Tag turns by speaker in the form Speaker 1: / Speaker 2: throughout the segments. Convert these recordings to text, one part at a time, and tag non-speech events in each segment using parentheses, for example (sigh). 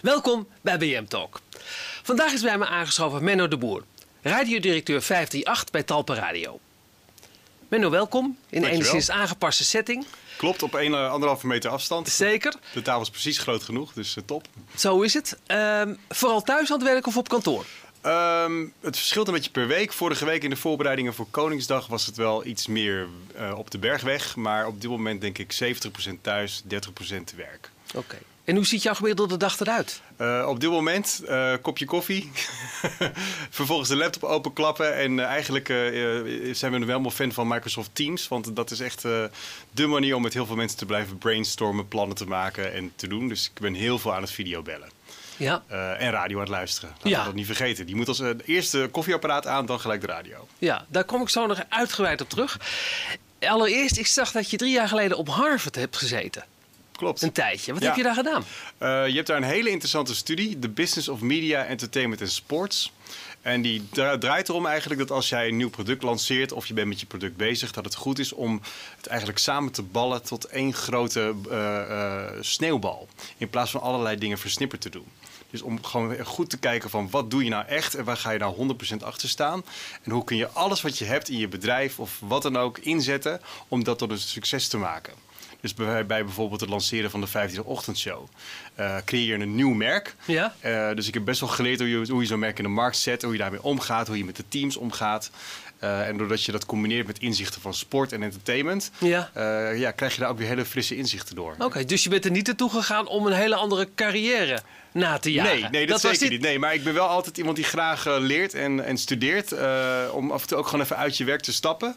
Speaker 1: Welkom bij BM Talk. Vandaag is bij me aangeschoven Menno de Boer, radiodirecteur 538 bij Talpa Radio. Menno, welkom in
Speaker 2: Dankjewel.
Speaker 1: enigszins aangepaste setting.
Speaker 2: Klopt, op een, eh, anderhalve meter afstand.
Speaker 1: Zeker,
Speaker 2: De tafel is precies groot genoeg, dus eh, top.
Speaker 1: zo is het. Ehm, vooral thuis aan het werk of op kantoor?
Speaker 2: Ehm, het verschilt een beetje per week. Vorige week in de voorbereidingen voor Koningsdag was het wel iets meer eh, op de bergweg. Maar op dit moment denk ik 70% thuis, 30% werk.
Speaker 1: Oké. En hoe ziet jouw gemiddelde dag eruit?
Speaker 2: Eh, op dit moment eh, kopje koffie. (laughs) Vervolgens de laptop openklappen. En eh, eigenlijk eh, eh, zijn we nu wel helemaal fan van Microsoft Teams. Want dat is echt eh de manier om met heel veel mensen te blijven brainstormen, plannen te maken en te doen. Dus ik ben heel veel aan het videobellen.
Speaker 1: Ja,
Speaker 2: Eh, en radio aan het luisteren. Laten
Speaker 1: Ja.
Speaker 2: we dat niet vergeten. Die moet als eh, eerst de koffieapparaat aan, dan gelijk de radio.
Speaker 1: ja, daar kom ik zo nog uitgebreid op terug. Allereerst, ik zag dat je drie jaar geleden op Harvard hebt gezeten.
Speaker 2: Klopt.
Speaker 1: Een tijdje. Wat
Speaker 2: Ja.
Speaker 1: heb je daar gedaan?
Speaker 2: Eh, je hebt daar een hele interessante studie, de Business of Media, Entertainment en Sports. En die dra- draait erom eigenlijk dat als jij een nieuw product lanceert of je bent met je product bezig, dat het goed is om het eigenlijk samen te ballen tot één grote eh, eh, sneeuwbal. In plaats van allerlei dingen versnipperd te doen. Dus om gewoon goed te kijken van wat doe je nou echt en waar ga je nou 100% achter staan. En hoe kun je alles wat je hebt in je bedrijf of wat dan ook inzetten om dat tot een succes te maken. Dus bij, bij bijvoorbeeld het lanceren van de 15e ochtendshow eh, creëer je een nieuw merk.
Speaker 1: Ja.
Speaker 2: Eh, dus ik heb best wel geleerd hoe je, hoe je zo'n merk in de markt zet, hoe je daarmee omgaat, hoe je met de teams omgaat. Eh, en doordat je dat combineert met inzichten van sport en entertainment,
Speaker 1: Ja.
Speaker 2: eh, ja, krijg je daar ook weer hele frisse inzichten door.
Speaker 1: Oké, dus je bent er niet naartoe gegaan om een hele andere carrière na te jagen.
Speaker 2: Nee, nee, dat, zeker niet. Nee, maar ik ben wel altijd iemand die graag eh, leert en, en studeert. eh, om af en toe ook gewoon even uit je werk te stappen.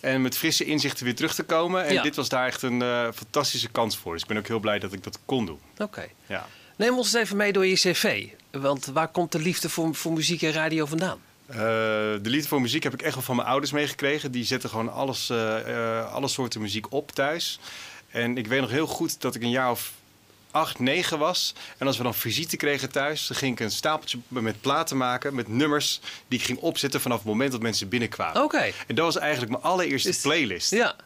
Speaker 2: En met frisse inzichten weer terug te komen. En
Speaker 1: Ja.
Speaker 2: dit was daar echt een eh, fantastische kans voor. Dus ik ben ook heel blij dat ik dat kon doen.
Speaker 1: Oké.
Speaker 2: Ja.
Speaker 1: Neem ons even mee door je cv. Want waar komt de liefde voor, voor muziek en radio vandaan?
Speaker 2: Eh, de liefde voor muziek heb ik echt wel van mijn ouders meegekregen. Die zetten gewoon alles, eh, eh, alle soorten muziek op thuis. En ik weet nog heel goed dat ik een jaar of acht, negen was. En als we dan visite kregen thuis, dan ging ik een stapeltje met platen maken. Met nummers die ik ging opzetten vanaf het moment dat mensen binnenkwamen.
Speaker 1: Oké.
Speaker 2: En dat was eigenlijk mijn allereerste
Speaker 1: Is-
Speaker 2: playlist.
Speaker 1: Oh. Ja,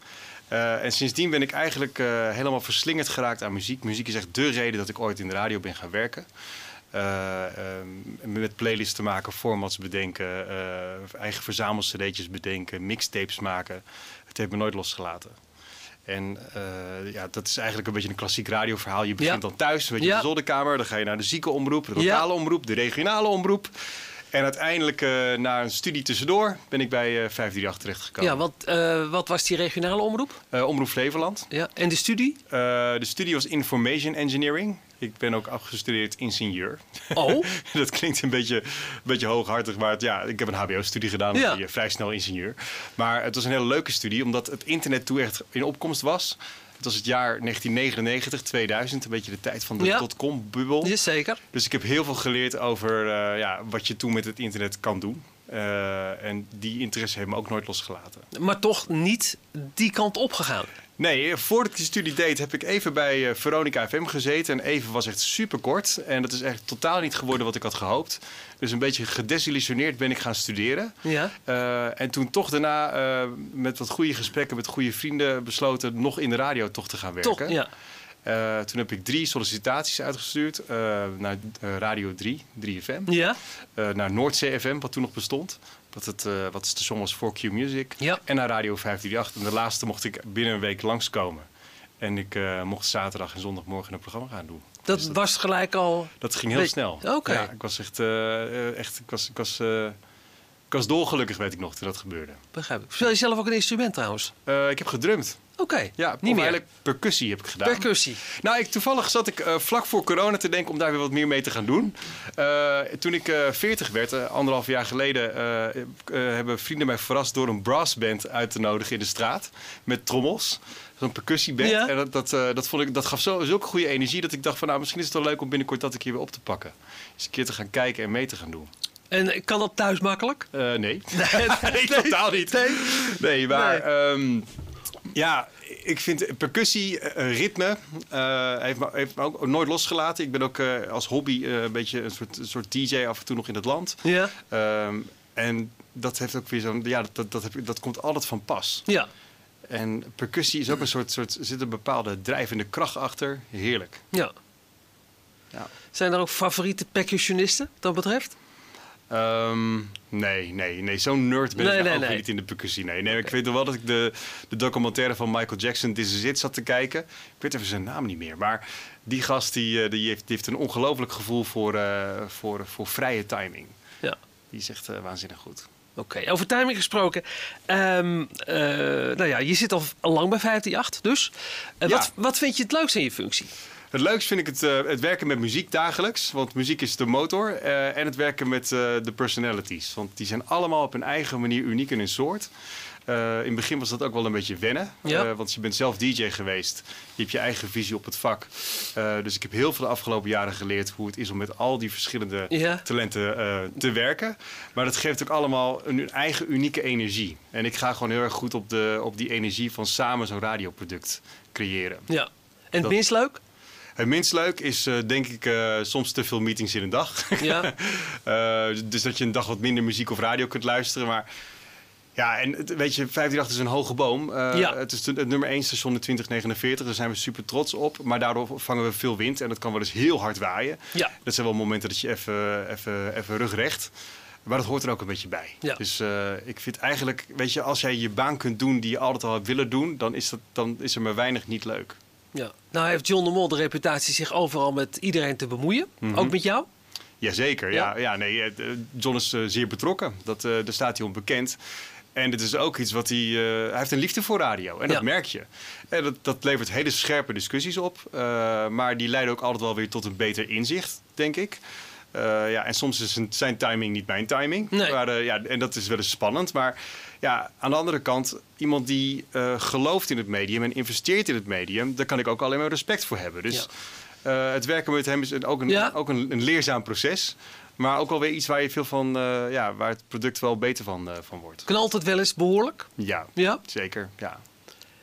Speaker 2: Eh, en sindsdien ben ik eigenlijk eh, helemaal verslingerd geraakt aan muziek. Muziek is echt de reden dat ik ooit in de radio ben gaan werken. Eh, ehm, met playlists te maken, formats bedenken, eh, eigen verzamelcd'tjes bedenken, mixtapes maken. Het heeft me nooit losgelaten. En eh, ja, dat is eigenlijk een beetje een klassiek radioverhaal. Je begint
Speaker 1: Ja.
Speaker 2: dan thuis, weet je,
Speaker 1: Ja.
Speaker 2: op de zolderkamer. Dan ga je naar de ziekenomroep, de
Speaker 1: Ja.
Speaker 2: lokale omroep, de regionale omroep. En uiteindelijk, eh, na een studie tussendoor, ben ik bij eh 538 terechtgekomen.
Speaker 1: ja want eh, wat was die regionale omroep?
Speaker 2: Eh, omroep Flevoland.
Speaker 1: Ja. En de studie?
Speaker 2: (laughs) Eh, de studie was Information Engineering. Ik ben ook afgestudeerd ingenieur. (laughs)
Speaker 1: Oh,
Speaker 2: dat klinkt een beetje, een beetje hooghartig, maar het- ja, ik heb een HBO-studie gedaan. dan
Speaker 1: Ja.
Speaker 2: ben je vrij snel ingenieur. Maar het was een hele leuke studie, omdat het internet toen echt in opkomst was. Het was het jaar 1999, 2000, een beetje de tijd van de
Speaker 1: Ja.
Speaker 2: dotcom-bubbel.
Speaker 1: jazeker.
Speaker 2: Dus ik heb heel veel geleerd over eh, ja, wat je toen met het internet kan doen. Eh, en die interesse heeft me ook nooit losgelaten.
Speaker 1: Maar toch niet die kant opgegaan.
Speaker 2: Nee, voordat ik die studie deed heb ik even bij eh, Veronica FM gezeten. En even was echt super kort. En dat is echt totaal niet geworden wat ik had gehoopt. Dus een beetje gedesillusioneerd ben ik gaan studeren.
Speaker 1: Ja.
Speaker 2: Eh, en toen toch daarna eh, met wat goede gesprekken met goede vrienden besloten nog in de radio toch te gaan werken.
Speaker 1: Toch, ja.
Speaker 2: Eh, toen heb ik drie sollicitaties uitgestuurd eh, naar eh, Radio 3, 3FM.
Speaker 1: Ja,
Speaker 2: Eh, naar Noordzee FM, wat toen nog bestond. Wat het, eh, wat het station was voor Q Music.
Speaker 1: Ja.
Speaker 2: En naar Radio 538. En de laatste mocht ik binnen een week langskomen. En ik eh, mocht zaterdag en zondagmorgen een programma gaan doen.
Speaker 1: dat
Speaker 2: Dus dat,
Speaker 1: was gelijk al...
Speaker 2: dat ging heel
Speaker 1: Weet-
Speaker 2: snel.
Speaker 1: Oké.
Speaker 2: Ja, ik was echt, eh, eh, echt ik was, ik was, eh, ik was dolgelukkig, weet ik nog, toen dat gebeurde.
Speaker 1: Begrijp ik. Speel je zelf ook een instrument trouwens?
Speaker 2: Eh, ik heb gedrumd.
Speaker 1: Oké,
Speaker 2: Ja,
Speaker 1: niet
Speaker 2: of
Speaker 1: meer.
Speaker 2: eigenlijk percussie heb ik gedaan.
Speaker 1: Percussie.
Speaker 2: Nou, ik, toevallig zat ik eh, vlak voor corona te denken om daar weer wat meer mee te gaan doen. Eh, toen ik eh 40 werd, eh, anderhalf jaar geleden, eh, eh, hebben vrienden mij verrast door een brassband uit te nodigen in de straat. Met trommels. Zo'n percussieband.
Speaker 1: Ja.
Speaker 2: En dat, dat, eh, dat, vond ik, dat gaf zo, zulke goede energie dat ik dacht van nou, misschien is het wel leuk om binnenkort dat een keer weer op te pakken. Eens een keer te gaan kijken en mee te gaan doen.
Speaker 1: En kan dat thuis makkelijk?
Speaker 2: Eh, (laughs) nee. nee, totaal niet. Nee, maar ehm, ja, ik vind percussie, eh, ritme, eh, heeft, me, heeft me ook nooit losgelaten. Ik ben ook eh, als hobby eh, een beetje een soort, een soort DJ af en toe nog in het land.
Speaker 1: Ja.
Speaker 2: Ehm, en dat heeft ook weer zo'n, ja, dat, dat, dat, heb ik- dat komt altijd van pas.
Speaker 1: Ja.
Speaker 2: En percussie is ook een soort, soort, er zit een bepaalde drijvende kracht achter. Heerlijk.
Speaker 1: Ja.
Speaker 3: Ja.
Speaker 1: Zijn er ook favoriete percussionisten wat dat betreft?
Speaker 2: Ehm, nee, nee, nee. Zo'n nerd ben
Speaker 1: Nee,
Speaker 2: ik nou
Speaker 1: nee,
Speaker 2: ook weer
Speaker 1: nee.
Speaker 2: niet in de percussie. Nee, nee. Ik weet nog wel dat ik de, de documentaire van Michael Jackson, This Is It, zat te kijken. Ik weet even zijn naam niet meer. Maar die gast die, eh, die, heeft, die heeft een ongelooflijk gevoel voor, eh, voor, voor vrije timing.
Speaker 1: Ja.
Speaker 2: Die is echt eh, waanzinnig goed.
Speaker 1: Oké, over timing gesproken. Ehm, eh, nou ja, je zit al, al lang bij 158, dus. Eh,
Speaker 2: Ja.
Speaker 1: wat, wat vind je het leukste in je functie?
Speaker 2: Het leukst vind ik het, eh, het werken met muziek dagelijks. Want muziek is de motor. eh, en het werken met eh, de personalities. Want die zijn allemaal op hun eigen manier uniek in hun soort. Eh, in het begin was dat ook wel een beetje wennen.
Speaker 1: Ja.
Speaker 2: eh, want je bent zelf DJ geweest. Je hebt je eigen visie op het vak. Eh, dus ik heb heel veel de afgelopen jaren geleerd hoe het is om met al die verschillende
Speaker 1: Ja.
Speaker 2: talenten eh, te werken. Maar dat geeft ook allemaal een, hun eigen unieke energie. En ik ga gewoon heel erg goed op, de, op die energie van samen zo'n radioproduct creëren.
Speaker 1: Ja. En het
Speaker 2: Dat-
Speaker 1: minst leuk?
Speaker 2: Het minst leuk is eh, denk ik eh, soms te veel meetings in een dag.
Speaker 1: Ja.
Speaker 2: (laughs) Eh, dus dat je een dag wat minder muziek of radio kunt luisteren. Maar ja, en het- weet je, 538 is een hoge boom. Eh,
Speaker 1: Ja.
Speaker 2: Het is de- het nummer 1 station in 2049. Daar zijn we super trots op. Maar daardoor vangen we veel wind en dat kan wel eens heel hard waaien.
Speaker 1: Ja.
Speaker 2: Dat zijn wel momenten dat je even, even, even rugrecht. Maar dat hoort er ook een beetje bij.
Speaker 1: Ja.
Speaker 2: Dus eh, ik vind eigenlijk, weet je, als jij je baan kunt doen die je altijd al hebt willen doen, dan is, dat, dan is er maar weinig niet leuk.
Speaker 1: ja. Nou heeft John de Mol de reputatie zich overal met iedereen te bemoeien.
Speaker 2: Mhm.
Speaker 1: Ook met jou?
Speaker 2: Jazeker, ja.
Speaker 1: Ja?
Speaker 2: ja nee, eh, John is eh, zeer betrokken. Dat, eh, daar staat hij onbekend. En dit is ook iets wat hij... eh, hij heeft een liefde voor radio. En
Speaker 1: Ja.
Speaker 2: dat merk je. En dat, dat levert hele scherpe discussies op. eh, maar die leiden ook altijd wel weer tot een beter inzicht, denk ik. Eh, ja, en soms is een- zijn timing niet mijn timing.
Speaker 1: Nee.
Speaker 2: Maar, eh, ja, en dat is wel eens spannend. Maar ja, aan de andere kant, iemand die eh, gelooft in het medium en investeert in het medium, daar kan ik ook alleen maar respect voor hebben. Dus eh, het werken met hem is een- ook een,
Speaker 1: Ja.
Speaker 2: ook een, een leerzaam proces. Maar ook wel weer iets waar je veel van, eh, ja, waar het product wel beter van, eh, van wordt.
Speaker 1: Knalt het wel eens behoorlijk?
Speaker 2: Ja,
Speaker 1: Ja.
Speaker 2: zeker. Ja.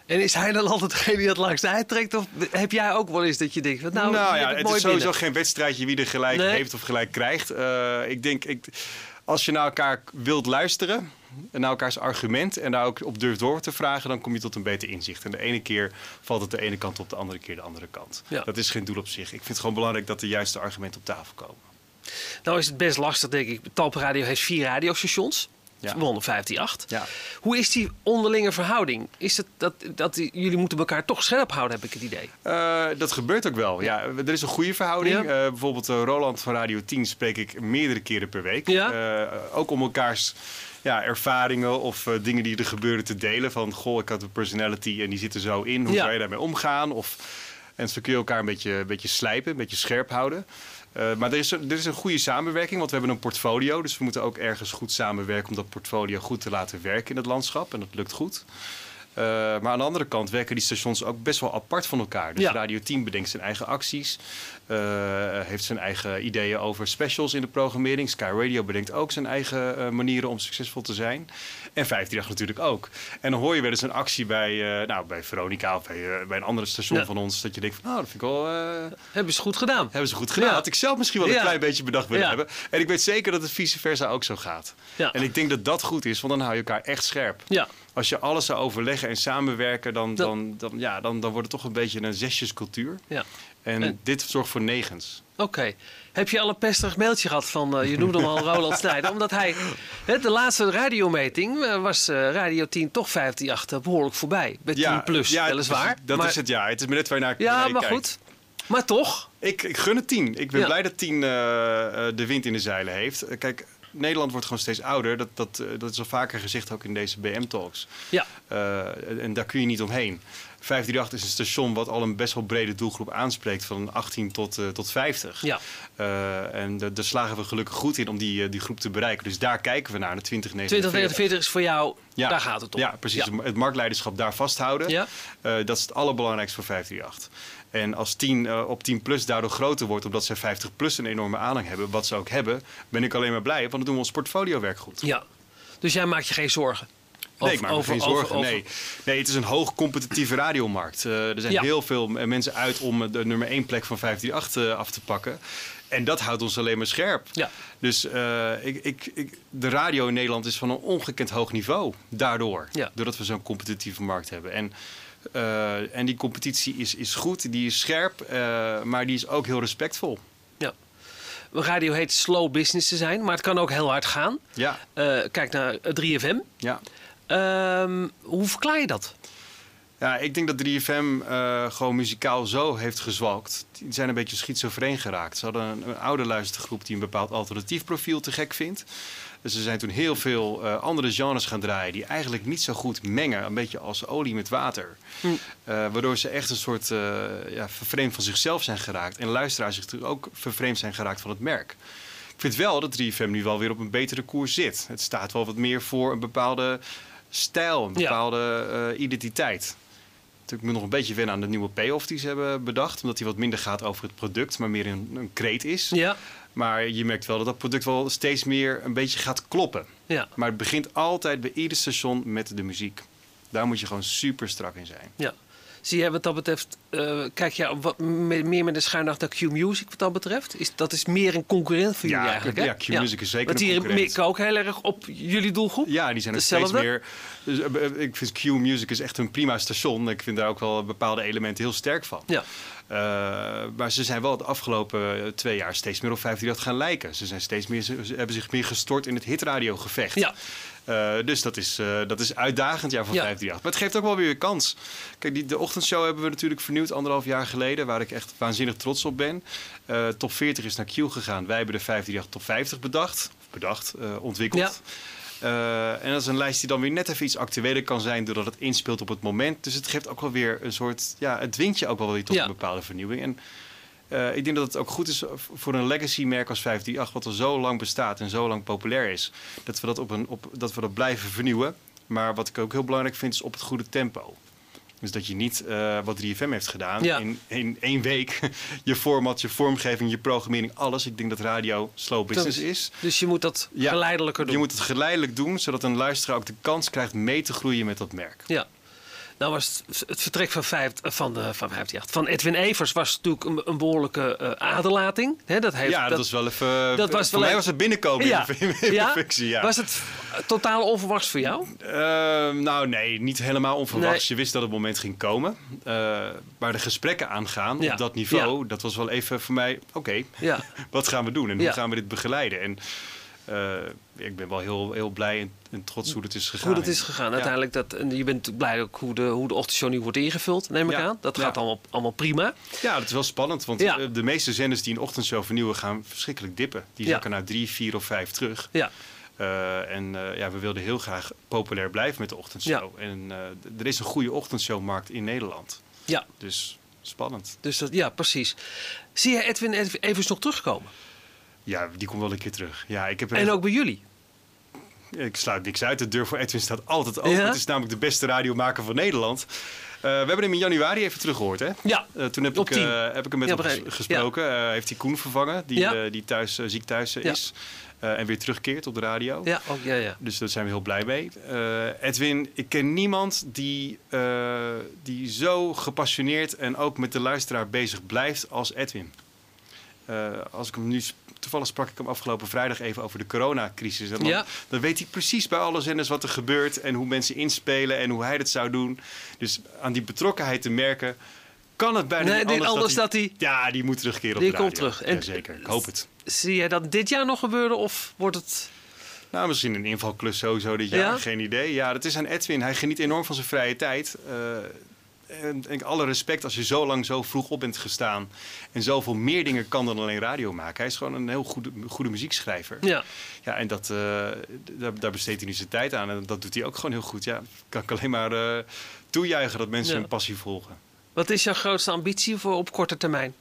Speaker 1: En is hij dan (laughs) altijd degene die dat langs de eind trekt? Of heb jij ook wel eens dat je denkt, wat nou,
Speaker 2: nou
Speaker 1: je
Speaker 2: ja,
Speaker 1: hebt
Speaker 2: het is
Speaker 1: mooi
Speaker 2: sowieso
Speaker 1: binnen.
Speaker 2: geen wedstrijdje wie er gelijk
Speaker 1: Nee.
Speaker 2: heeft of gelijk krijgt. Eh, ik denk, ik, als je naar elkaar wilt luisteren, en naar elkaars argument en daar ook op durft door te vragen, dan kom je tot een beter inzicht. En de ene keer valt het de ene kant op, de andere keer de andere kant.
Speaker 1: Ja.
Speaker 2: Dat is geen doel op zich. Ik vind het gewoon belangrijk dat de juiste argumenten op tafel komen.
Speaker 1: Nou is het best lastig, denk ik. Talpradio heeft vier radiostations.
Speaker 2: Ja.
Speaker 1: Waaronder 158.
Speaker 2: Ja.
Speaker 1: Hoe is die onderlinge verhouding? Is het dat, dat die- jullie moeten elkaar toch scherp houden, heb ik het idee.
Speaker 2: Eh, dat gebeurt ook wel. Ja, er is een goede verhouding.
Speaker 1: Ja.
Speaker 2: Eh, bijvoorbeeld eh, Roland van Radio 10 spreek ik meerdere keren per week.
Speaker 1: Ja.
Speaker 2: Eh, ook om elkaars ja, ervaringen of eh, dingen die er gebeuren te delen. Van goh, ik had een personality en die zit er zo in. Hoe
Speaker 1: Ja.
Speaker 2: zou je daarmee omgaan? Of, en zo kun je elkaar een beetje, een beetje slijpen, een beetje scherp houden. Eh, maar er is, een- er is een goede samenwerking, want we hebben een portfolio. Dus we moeten ook ergens goed samenwerken om dat portfolio goed te laten werken in het landschap. En dat lukt goed. Eh, maar aan de andere kant werken die stations ook best wel apart van elkaar. Dus
Speaker 1: Ja.
Speaker 2: Radio 10 bedenkt zijn eigen acties, eh, heeft zijn eigen ideeën over specials in de programmering. Sky Radio bedenkt ook zijn eigen eh, manieren om succesvol te zijn. En 538 natuurlijk ook. En dan hoor je wel eens een actie bij, eh, nou, bij Veronica of bij, eh, bij een andere station
Speaker 1: Ja.
Speaker 2: van ons, dat je denkt van, nou, dat vind ik wel... eh,
Speaker 1: Hebben ze goed gedaan.
Speaker 2: hebben ze goed gedaan.
Speaker 1: Ja.
Speaker 2: Had ik zelf misschien wel een
Speaker 1: Ja.
Speaker 2: klein beetje bedacht willen
Speaker 1: Ja.
Speaker 2: hebben. En ik weet zeker dat het vice versa ook zo gaat.
Speaker 1: Ja.
Speaker 2: En ik denk dat dat goed is, want dan hou je elkaar echt scherp.
Speaker 1: Ja.
Speaker 2: Als je alles zou overleggen en samenwerken, dan,
Speaker 1: Dat-
Speaker 2: dan, dan, ja, dan, dan wordt het toch een beetje een zesjescultuur.
Speaker 1: ja.
Speaker 2: En,
Speaker 1: En-
Speaker 2: dit zorgt voor negens.
Speaker 1: Oké. Heb je al een pesterig mailtje gehad van, eh, je noemde
Speaker 2: (laughs)
Speaker 1: hem al Roland Snijder, omdat hij, hè, de laatste radiometing eh, was eh, Radio 10 toch 158 eh, behoorlijk voorbij. Bij 10 plus,
Speaker 2: ja,
Speaker 1: weliswaar.
Speaker 2: Dat
Speaker 1: maar,
Speaker 2: is het, ja. Het is maar net waar je naar
Speaker 1: Ja,
Speaker 2: naar je
Speaker 1: maar
Speaker 2: kijkt.
Speaker 1: goed. Maar toch,
Speaker 2: Ik, ik gun het tien. Ik ben
Speaker 1: Ja.
Speaker 2: blij dat tien eh, eh, de wind in de zeilen heeft. Eh, Kijk, Nederland wordt gewoon steeds ouder. Dat, dat, eh, dat is al vaker gezegd ook in deze BM-talks.
Speaker 1: ja.
Speaker 2: Eh, en daar kun je niet omheen. 538 is een station wat al een best wel brede doelgroep aanspreekt, van 18 tot, eh, tot 50.
Speaker 1: Ja.
Speaker 2: Eh, en da- daar slagen we gelukkig goed in om die, eh, die groep te bereiken. Dus daar kijken we naar, naar 2049.
Speaker 1: 2049 is voor jou,
Speaker 2: Ja.
Speaker 1: daar gaat het om.
Speaker 2: Ja, precies.
Speaker 1: Ja.
Speaker 2: Het marktleiderschap daar vasthouden.
Speaker 1: Ja.
Speaker 2: Eh, dat is het allerbelangrijkste voor 538. En als 10 eh, op 10 plus daardoor groter wordt, omdat zij 50 plus een enorme aanhang hebben, wat ze ook hebben, ben ik alleen maar blij, want dan doen we ons portfoliowerk goed.
Speaker 1: Ja. Dus jij maakt je geen zorgen?
Speaker 2: Nee,
Speaker 1: Over-
Speaker 2: ik maak me
Speaker 1: over-
Speaker 2: geen
Speaker 1: over-
Speaker 2: zorgen.
Speaker 1: over-
Speaker 2: nee. nee, het is een hoog competitieve radiomarkt. Eh, er zijn
Speaker 1: Ja.
Speaker 2: heel veel m- mensen uit om eh, de nummer 1 plek van 158 eh, af te pakken. En dat houdt ons alleen maar scherp.
Speaker 1: Ja.
Speaker 2: Dus eh, ik, ik, ik, de radio in Nederland is van een ongekend hoog niveau. Daardoor.
Speaker 1: Ja.
Speaker 2: Doordat we zo'n competitieve markt hebben. En, eh, en die competitie is, is goed, die is scherp, eh, maar die is ook heel respectvol.
Speaker 1: radio heet slow business te zijn, maar het kan ook heel hard gaan.
Speaker 2: Ja.
Speaker 1: Eh, kijk naar 3FM.
Speaker 2: Ja.
Speaker 1: Ehm, hoe verklaar je dat?
Speaker 2: Ja, ik denk dat 3FM eh, gewoon muzikaal zo heeft gezwalkt. Die zijn een beetje schizofreen geraakt. Ze hadden een, een oude luistergroep die een bepaald alternatief profiel te gek vindt. Dus ze zijn toen heel veel eh, andere genres gaan draaien die eigenlijk niet zo goed mengen. Een beetje als olie met water. Eh, waardoor ze echt een soort eh ja, vervreemd van zichzelf zijn geraakt. En luisteraars zich natuurlijk ook vervreemd zijn geraakt van het merk. Ik vind wel dat 3FM nu wel weer op een betere koers zit. Het staat wel wat meer voor een bepaalde stijl,
Speaker 1: Ja.
Speaker 2: een bepaalde eh, identiteit. Natuurlijk moet ik nog een beetje wennen aan de nieuwe payoff die ze hebben bedacht. Omdat die wat minder gaat over het product, maar meer een, een kreet is.
Speaker 1: Ja.
Speaker 2: Maar je merkt wel dat dat product wel steeds meer een beetje gaat kloppen.
Speaker 1: Ja.
Speaker 2: Maar het begint altijd bij ieder station met de muziek. Daar moet je gewoon super strak in zijn.
Speaker 1: ja. Zie jij wat dat betreft, eh, kijk jij op wat, me- meer met de schuinacht naar Q-Music wat dat betreft? Is, dat is meer een concurrent voor
Speaker 2: Ja,
Speaker 1: jullie eigenlijk, hè?
Speaker 2: ja, Q-Music is zeker
Speaker 1: Want
Speaker 2: een
Speaker 1: die
Speaker 2: concurrent.
Speaker 1: mikken ook heel erg op jullie doelgroep?
Speaker 2: Ja, die zijn er steeds
Speaker 1: Hetzelfde?
Speaker 2: meer. Dus, eh, eh, ik vind Q Music is echt een prima station. Ik vind daar ook wel bepaalde elementen heel sterk van.
Speaker 1: Ja.
Speaker 2: Eh, maar ze zijn wel de afgelopen eh, twee jaar steeds meer op 538 gaan lijken. Ze, zijn steeds meer, ze ze hebben zich meer gestort in het hitradiogevecht.
Speaker 1: Ja.
Speaker 2: Eh, dus dat is, eh, dat is uitdagend jaar voor
Speaker 1: Ja.
Speaker 2: 538. Maar het geeft ook wel weer kans. Kijk, die, de ochtendshow hebben we natuurlijk vernieuwd anderhalf jaar geleden. Waar ik echt waanzinnig trots op ben. Eh, top 40 is naar Q gegaan. Wij hebben de 538 top 50 bedacht. Of bedacht, eh, ontwikkeld.
Speaker 1: Ja.
Speaker 2: Eh, en dat is een lijst die dan weer net even iets actueler kan zijn, doordat het inspeelt op het moment. Dus het geeft ook wel weer een soort. Ja, het dwingt je ook wel weer tot
Speaker 1: Ja.
Speaker 2: een bepaalde vernieuwing. En eh, ik denk dat het ook goed is voor een legacy-merk als 538, wat al zo lang bestaat en zo lang populair is, dat we dat, op een, op, dat, we dat blijven vernieuwen. Maar wat ik ook heel belangrijk vind, is op het goede tempo. Dus dat je niet eh, wat 3FM heeft gedaan
Speaker 1: Ja.
Speaker 2: in, in één week. (laughs) je format, je vormgeving, je programmering, alles. Ik denk dat radio slow business is.
Speaker 1: Dus je moet dat
Speaker 2: Ja,
Speaker 1: geleidelijker doen?
Speaker 2: Je moet het geleidelijk doen, zodat een luisteraar ook de kans krijgt mee te groeien met dat merk.
Speaker 1: Ja. Nou was het, het vertrek van, vijf, eh, van, de, van, 58 van Edwin Evers was natuurlijk een, een behoorlijke eh, aderlating. Hè, dat heeft,
Speaker 2: ja, dat, was wel even.
Speaker 1: dat was wel
Speaker 2: voor mij
Speaker 1: een-
Speaker 2: was het binnenkomen
Speaker 1: Ja.
Speaker 2: in de in de
Speaker 1: Ja?
Speaker 2: functie. Ja.
Speaker 1: Was het totaal onverwachts voor jou?
Speaker 2: Ehm, nou, nee, niet helemaal onverwachts.
Speaker 1: Nee.
Speaker 2: Je wist dat het moment ging komen. Eh, maar de gesprekken aangaan
Speaker 1: Ja.
Speaker 2: op dat niveau, dat was wel even voor mij. Oké,
Speaker 1: Ja.
Speaker 2: wat gaan we doen en
Speaker 1: Ja.
Speaker 2: hoe gaan we dit begeleiden? En eh, ik ben wel heel, heel blij en, en trots hoe het is gegaan.
Speaker 1: Hoe dat is gegaan.
Speaker 2: Ja.
Speaker 1: Uiteindelijk dat, en je bent blij ook hoe de, hoe de ochtendshow nu wordt ingevuld, neem ik
Speaker 2: Ja.
Speaker 1: aan. Dat
Speaker 2: Ja.
Speaker 1: gaat allemaal, allemaal prima.
Speaker 2: Ja, dat is wel spannend, want
Speaker 1: Ja.
Speaker 2: eh, de meeste zenders die een ochtendshow vernieuwen gaan verschrikkelijk dippen. Die
Speaker 1: Ja.
Speaker 2: zakken naar drie, vier of vijf terug.
Speaker 1: Ja.
Speaker 2: Eh, en eh, ja, we wilden heel graag populair blijven met de ochtendshow. En eh, d- er is een goede ochtendshowmarkt in Nederland.
Speaker 1: ja.
Speaker 2: Dus spannend.
Speaker 1: Dus dat, ja, precies. Zie je Edwin Ev- Evers nog terugkomen?
Speaker 2: Ja, die komt wel een keer terug. Ja, ik, heb er
Speaker 1: En
Speaker 2: echt-
Speaker 1: ook bij jullie?
Speaker 2: ik sluit niks uit. De deur voor Edwin staat altijd open.
Speaker 1: Ja?
Speaker 2: Het is namelijk de beste radiomaker van Nederland. Eh, we hebben hem in januari even teruggehoord, hè?
Speaker 1: Ja.
Speaker 2: Eh, toen heb
Speaker 1: Op
Speaker 2: ik, eh,
Speaker 1: tien.
Speaker 2: heb ik hem met
Speaker 1: Ja,
Speaker 2: hem
Speaker 1: begrijp ik.
Speaker 2: ges- gesproken. Eh, heeft hij Koen vervangen, die,
Speaker 1: Ja.
Speaker 2: eh, die thuis, eh, ziek thuis eh,
Speaker 1: Ja.
Speaker 2: is. Eh, en weer terugkeert op de radio.
Speaker 1: Ja, ook, ja, ja.
Speaker 2: Dus daar zijn we heel blij mee. Eh, Edwin, ik ken niemand die, eh, die zo gepassioneerd en ook met de luisteraar bezig blijft als Edwin. Eh, als ik hem nu sp- toevallig sprak ik hem afgelopen vrijdag even over de coronacrisis. En dan,
Speaker 1: Ja.
Speaker 2: dan weet hij precies bij alle zenders wat er gebeurt en hoe mensen inspelen en hoe hij dat zou doen. Dus aan die betrokkenheid te merken, kan het bijna
Speaker 1: Nee,
Speaker 2: niet
Speaker 1: dit-
Speaker 2: anders,
Speaker 1: anders
Speaker 2: dat, hij, Ja, die moet terugkeren op
Speaker 1: Die
Speaker 2: de radio.
Speaker 1: komt terug. En-
Speaker 2: Jazeker, ik hoop het.
Speaker 1: Zie jij dat dit jaar nog gebeuren of wordt het...
Speaker 2: Nou, misschien een invalklus sowieso dit jaar.
Speaker 1: Ja?
Speaker 2: Geen idee. Ja, dat is aan Edwin. Hij geniet enorm van zijn vrije tijd. Eh, en en alle respect als je zo lang zo vroeg op bent gestaan. En zoveel meer dingen kan dan alleen radio maken. Hij is gewoon een heel goede, goede muziekschrijver.
Speaker 1: Ja.
Speaker 2: Ja, en dat, eh, d- daar, daar besteedt hij nu zijn tijd aan. En dat doet hij ook gewoon heel goed. Ja, kan ik alleen maar eh, toejuichen dat mensen
Speaker 1: Ja.
Speaker 2: hun passie volgen.
Speaker 1: Wat is jouw grootste ambitie voor op korte termijn?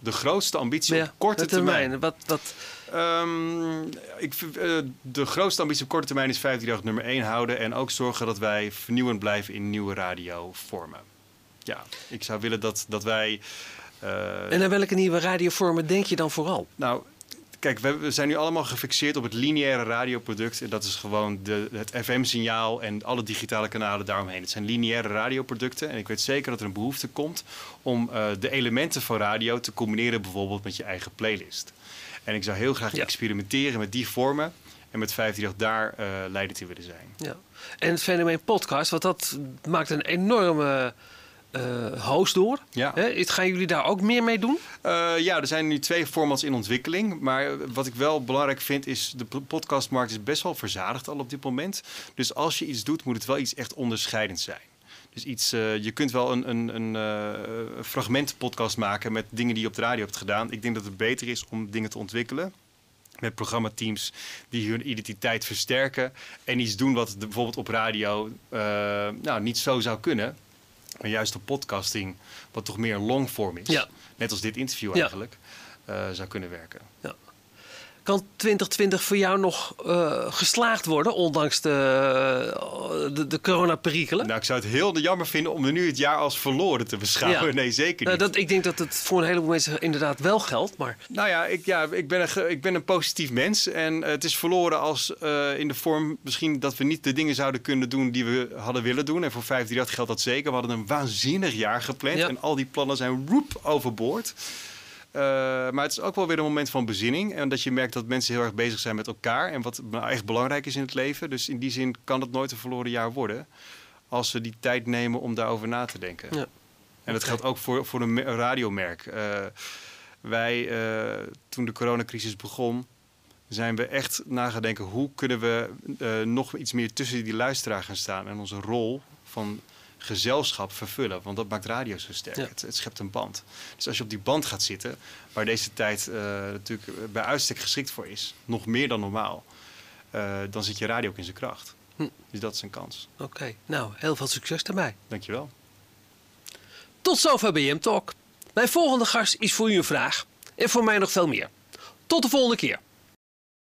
Speaker 2: De grootste ambitie
Speaker 1: Ja,
Speaker 2: op korte
Speaker 1: de
Speaker 2: termijn.
Speaker 1: Wat, wat,
Speaker 2: Ehm, ik, vind, eh, de grootste ambitie op korte termijn is 538 nummer 1 houden. En ook zorgen dat wij vernieuwend blijven in nieuwe radiovormen. Ja, ik zou willen dat, dat wij. eh,
Speaker 1: en aan welke nieuwe radiovormen denk je dan vooral?
Speaker 2: nou, kijk, we, we zijn nu allemaal gefixeerd op het lineaire radioproduct. En dat is gewoon de, het FM-signaal en alle digitale kanalen daaromheen. Het zijn lineaire radioproducten. En ik weet zeker dat er een behoefte komt om eh, de elementen van radio te combineren, bijvoorbeeld met je eigen playlist. En ik zou heel graag
Speaker 1: Ja.
Speaker 2: experimenteren met die vormen. En met 538 daar eh leidend in willen zijn.
Speaker 1: Ja. En het fenomeen podcast, want dat maakt een enorme eh, host door.
Speaker 2: Ja.
Speaker 1: Hè, gaan jullie daar ook meer mee doen?
Speaker 2: Eh, ja, er zijn nu twee formats in ontwikkeling. Maar wat ik wel belangrijk vind is... de p- podcastmarkt is best wel verzadigd al op dit moment. Dus als je iets doet, moet het wel iets echt onderscheidends zijn. Dus iets, eh, je kunt wel een, een, een eh, fragment podcast maken met dingen die je op de radio hebt gedaan. Ik denk dat het beter is om dingen te ontwikkelen met programmateams die hun identiteit versterken en iets doen wat de- bijvoorbeeld op radio eh, nou, niet zo zou kunnen. Maar juist op podcasting, wat toch meer longform is.
Speaker 1: Ja.
Speaker 2: Net als dit interview
Speaker 1: Ja.
Speaker 2: eigenlijk, eh, zou kunnen werken.
Speaker 1: Kan 2020 voor jou nog eh, geslaagd worden, ondanks de, eh, de, de coronaperikelen?
Speaker 2: Nou, ik zou het heel jammer vinden om er nu het jaar als verloren te beschouwen.
Speaker 1: Ja.
Speaker 2: Nee, zeker
Speaker 1: Nou,
Speaker 2: niet.
Speaker 1: dat, ik denk dat het voor een heleboel mensen inderdaad wel geldt, maar
Speaker 2: Nou ja, ik, ja ik, ben een, ge- ik ben een positief mens. En eh, het is verloren als eh, in de vorm misschien dat we niet de dingen zouden kunnen doen die we hadden willen doen. En voor 538 geldt dat zeker. We hadden een waanzinnig jaar gepland.
Speaker 1: Ja.
Speaker 2: En al die plannen zijn roep overboord. Eh, maar het is ook wel weer een moment van bezinning. En dat je merkt dat mensen heel erg bezig zijn met elkaar. En wat nou echt belangrijk is in het leven. Dus in die zin kan het nooit een verloren jaar worden. Als we die tijd nemen om daarover na te denken.
Speaker 1: Ja.
Speaker 2: En dat geldt ook voor, voor een me- een radiomerk. Eh, wij, eh, toen de coronacrisis begon, zijn we echt nagedenken hoe kunnen we eh, nog iets meer tussen die luisteraar gaan staan en onze rol van gezelschap vervullen. Want dat maakt radio zo sterk.
Speaker 1: Ja.
Speaker 2: Het, het schept een band. Dus als je op die band gaat zitten, waar deze tijd eh, natuurlijk bij uitstek geschikt voor is, nog meer dan normaal, eh, dan zit je radio ook in zijn kracht.
Speaker 1: Hm.
Speaker 2: Dus dat is een kans.
Speaker 1: oké. Nou, heel veel succes daarbij.
Speaker 2: Dankjewel.
Speaker 1: Tot zover BM Talk. Mijn volgende gast is voor u een vraag. En voor mij nog veel meer. Tot de volgende keer.